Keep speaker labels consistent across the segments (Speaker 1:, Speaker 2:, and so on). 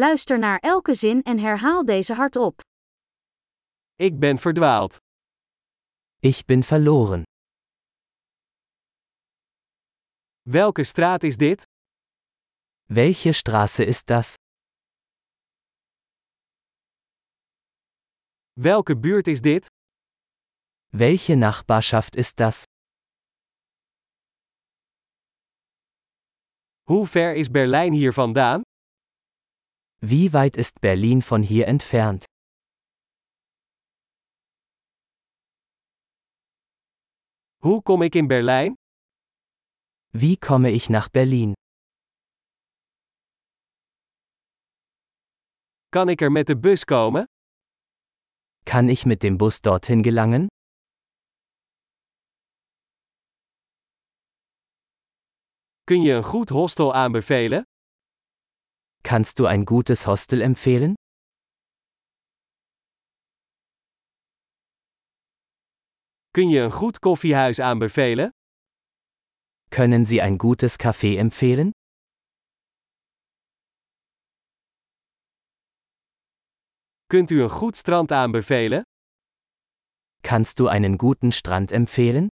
Speaker 1: Luister naar elke zin en herhaal deze hardop.
Speaker 2: Ik ben verdwaald.
Speaker 3: Ich bin verloren.
Speaker 2: Welke straat is dit?
Speaker 3: Welche Straße ist das?
Speaker 2: Welke buurt is dit?
Speaker 3: Welche Nachbarschaft ist das?
Speaker 2: Hoe ver is Berlijn hier vandaan?
Speaker 3: Wie weit ist Berlin von hier entfernt?
Speaker 2: Hoe kom ik in Berlijn?
Speaker 3: Wie komme ich nach Berlin?
Speaker 2: Kan ik er met de bus komen?
Speaker 3: Kann ich mit dem Bus dorthin gelangen?
Speaker 2: Kun je een goed hostel aanbevelen?
Speaker 3: Kannst du ein gutes Hostel empfehlen?
Speaker 2: Kun je een goed koffiehuis aanbevelen?
Speaker 3: Können Sie ein gutes Café empfehlen?
Speaker 2: Kunt u een goed strand aanbevelen?
Speaker 3: Kannst du einen guten Strand empfehlen?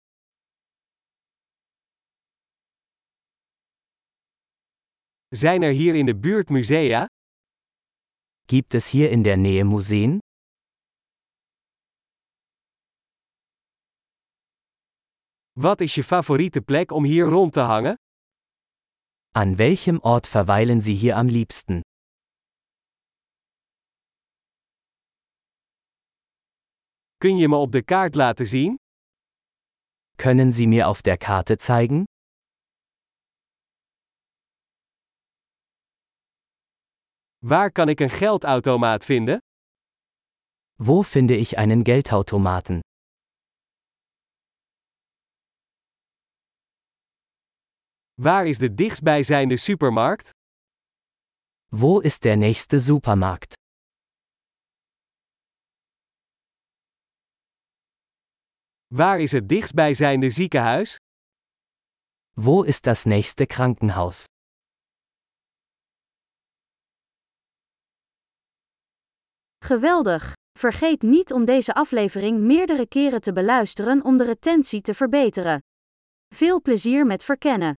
Speaker 2: Zijn er hier in de buurt musea?
Speaker 3: Gibt es hier in der Nähe Museen?
Speaker 2: Wat is je favoriete plek om hier rond te hangen?
Speaker 3: An welchem Ort verweilen Sie hier am liebsten?
Speaker 2: Kun je me op de kaart laten zien?
Speaker 3: Können Sie mir auf der Karte zeigen?
Speaker 2: Waar kan ik een geldautomaat vinden?
Speaker 3: Wo finde ich einen Geldautomaten?
Speaker 2: Waar is de dichtstbijzijnde supermarkt?
Speaker 3: Wo ist der nächste Supermarkt?
Speaker 2: Waar is het dichtstbijzijnde ziekenhuis?
Speaker 3: Wo ist das nächste Krankenhaus?
Speaker 1: Geweldig! Vergeet niet om deze aflevering meerdere keren te beluisteren om de retentie te verbeteren. Veel plezier met verkennen!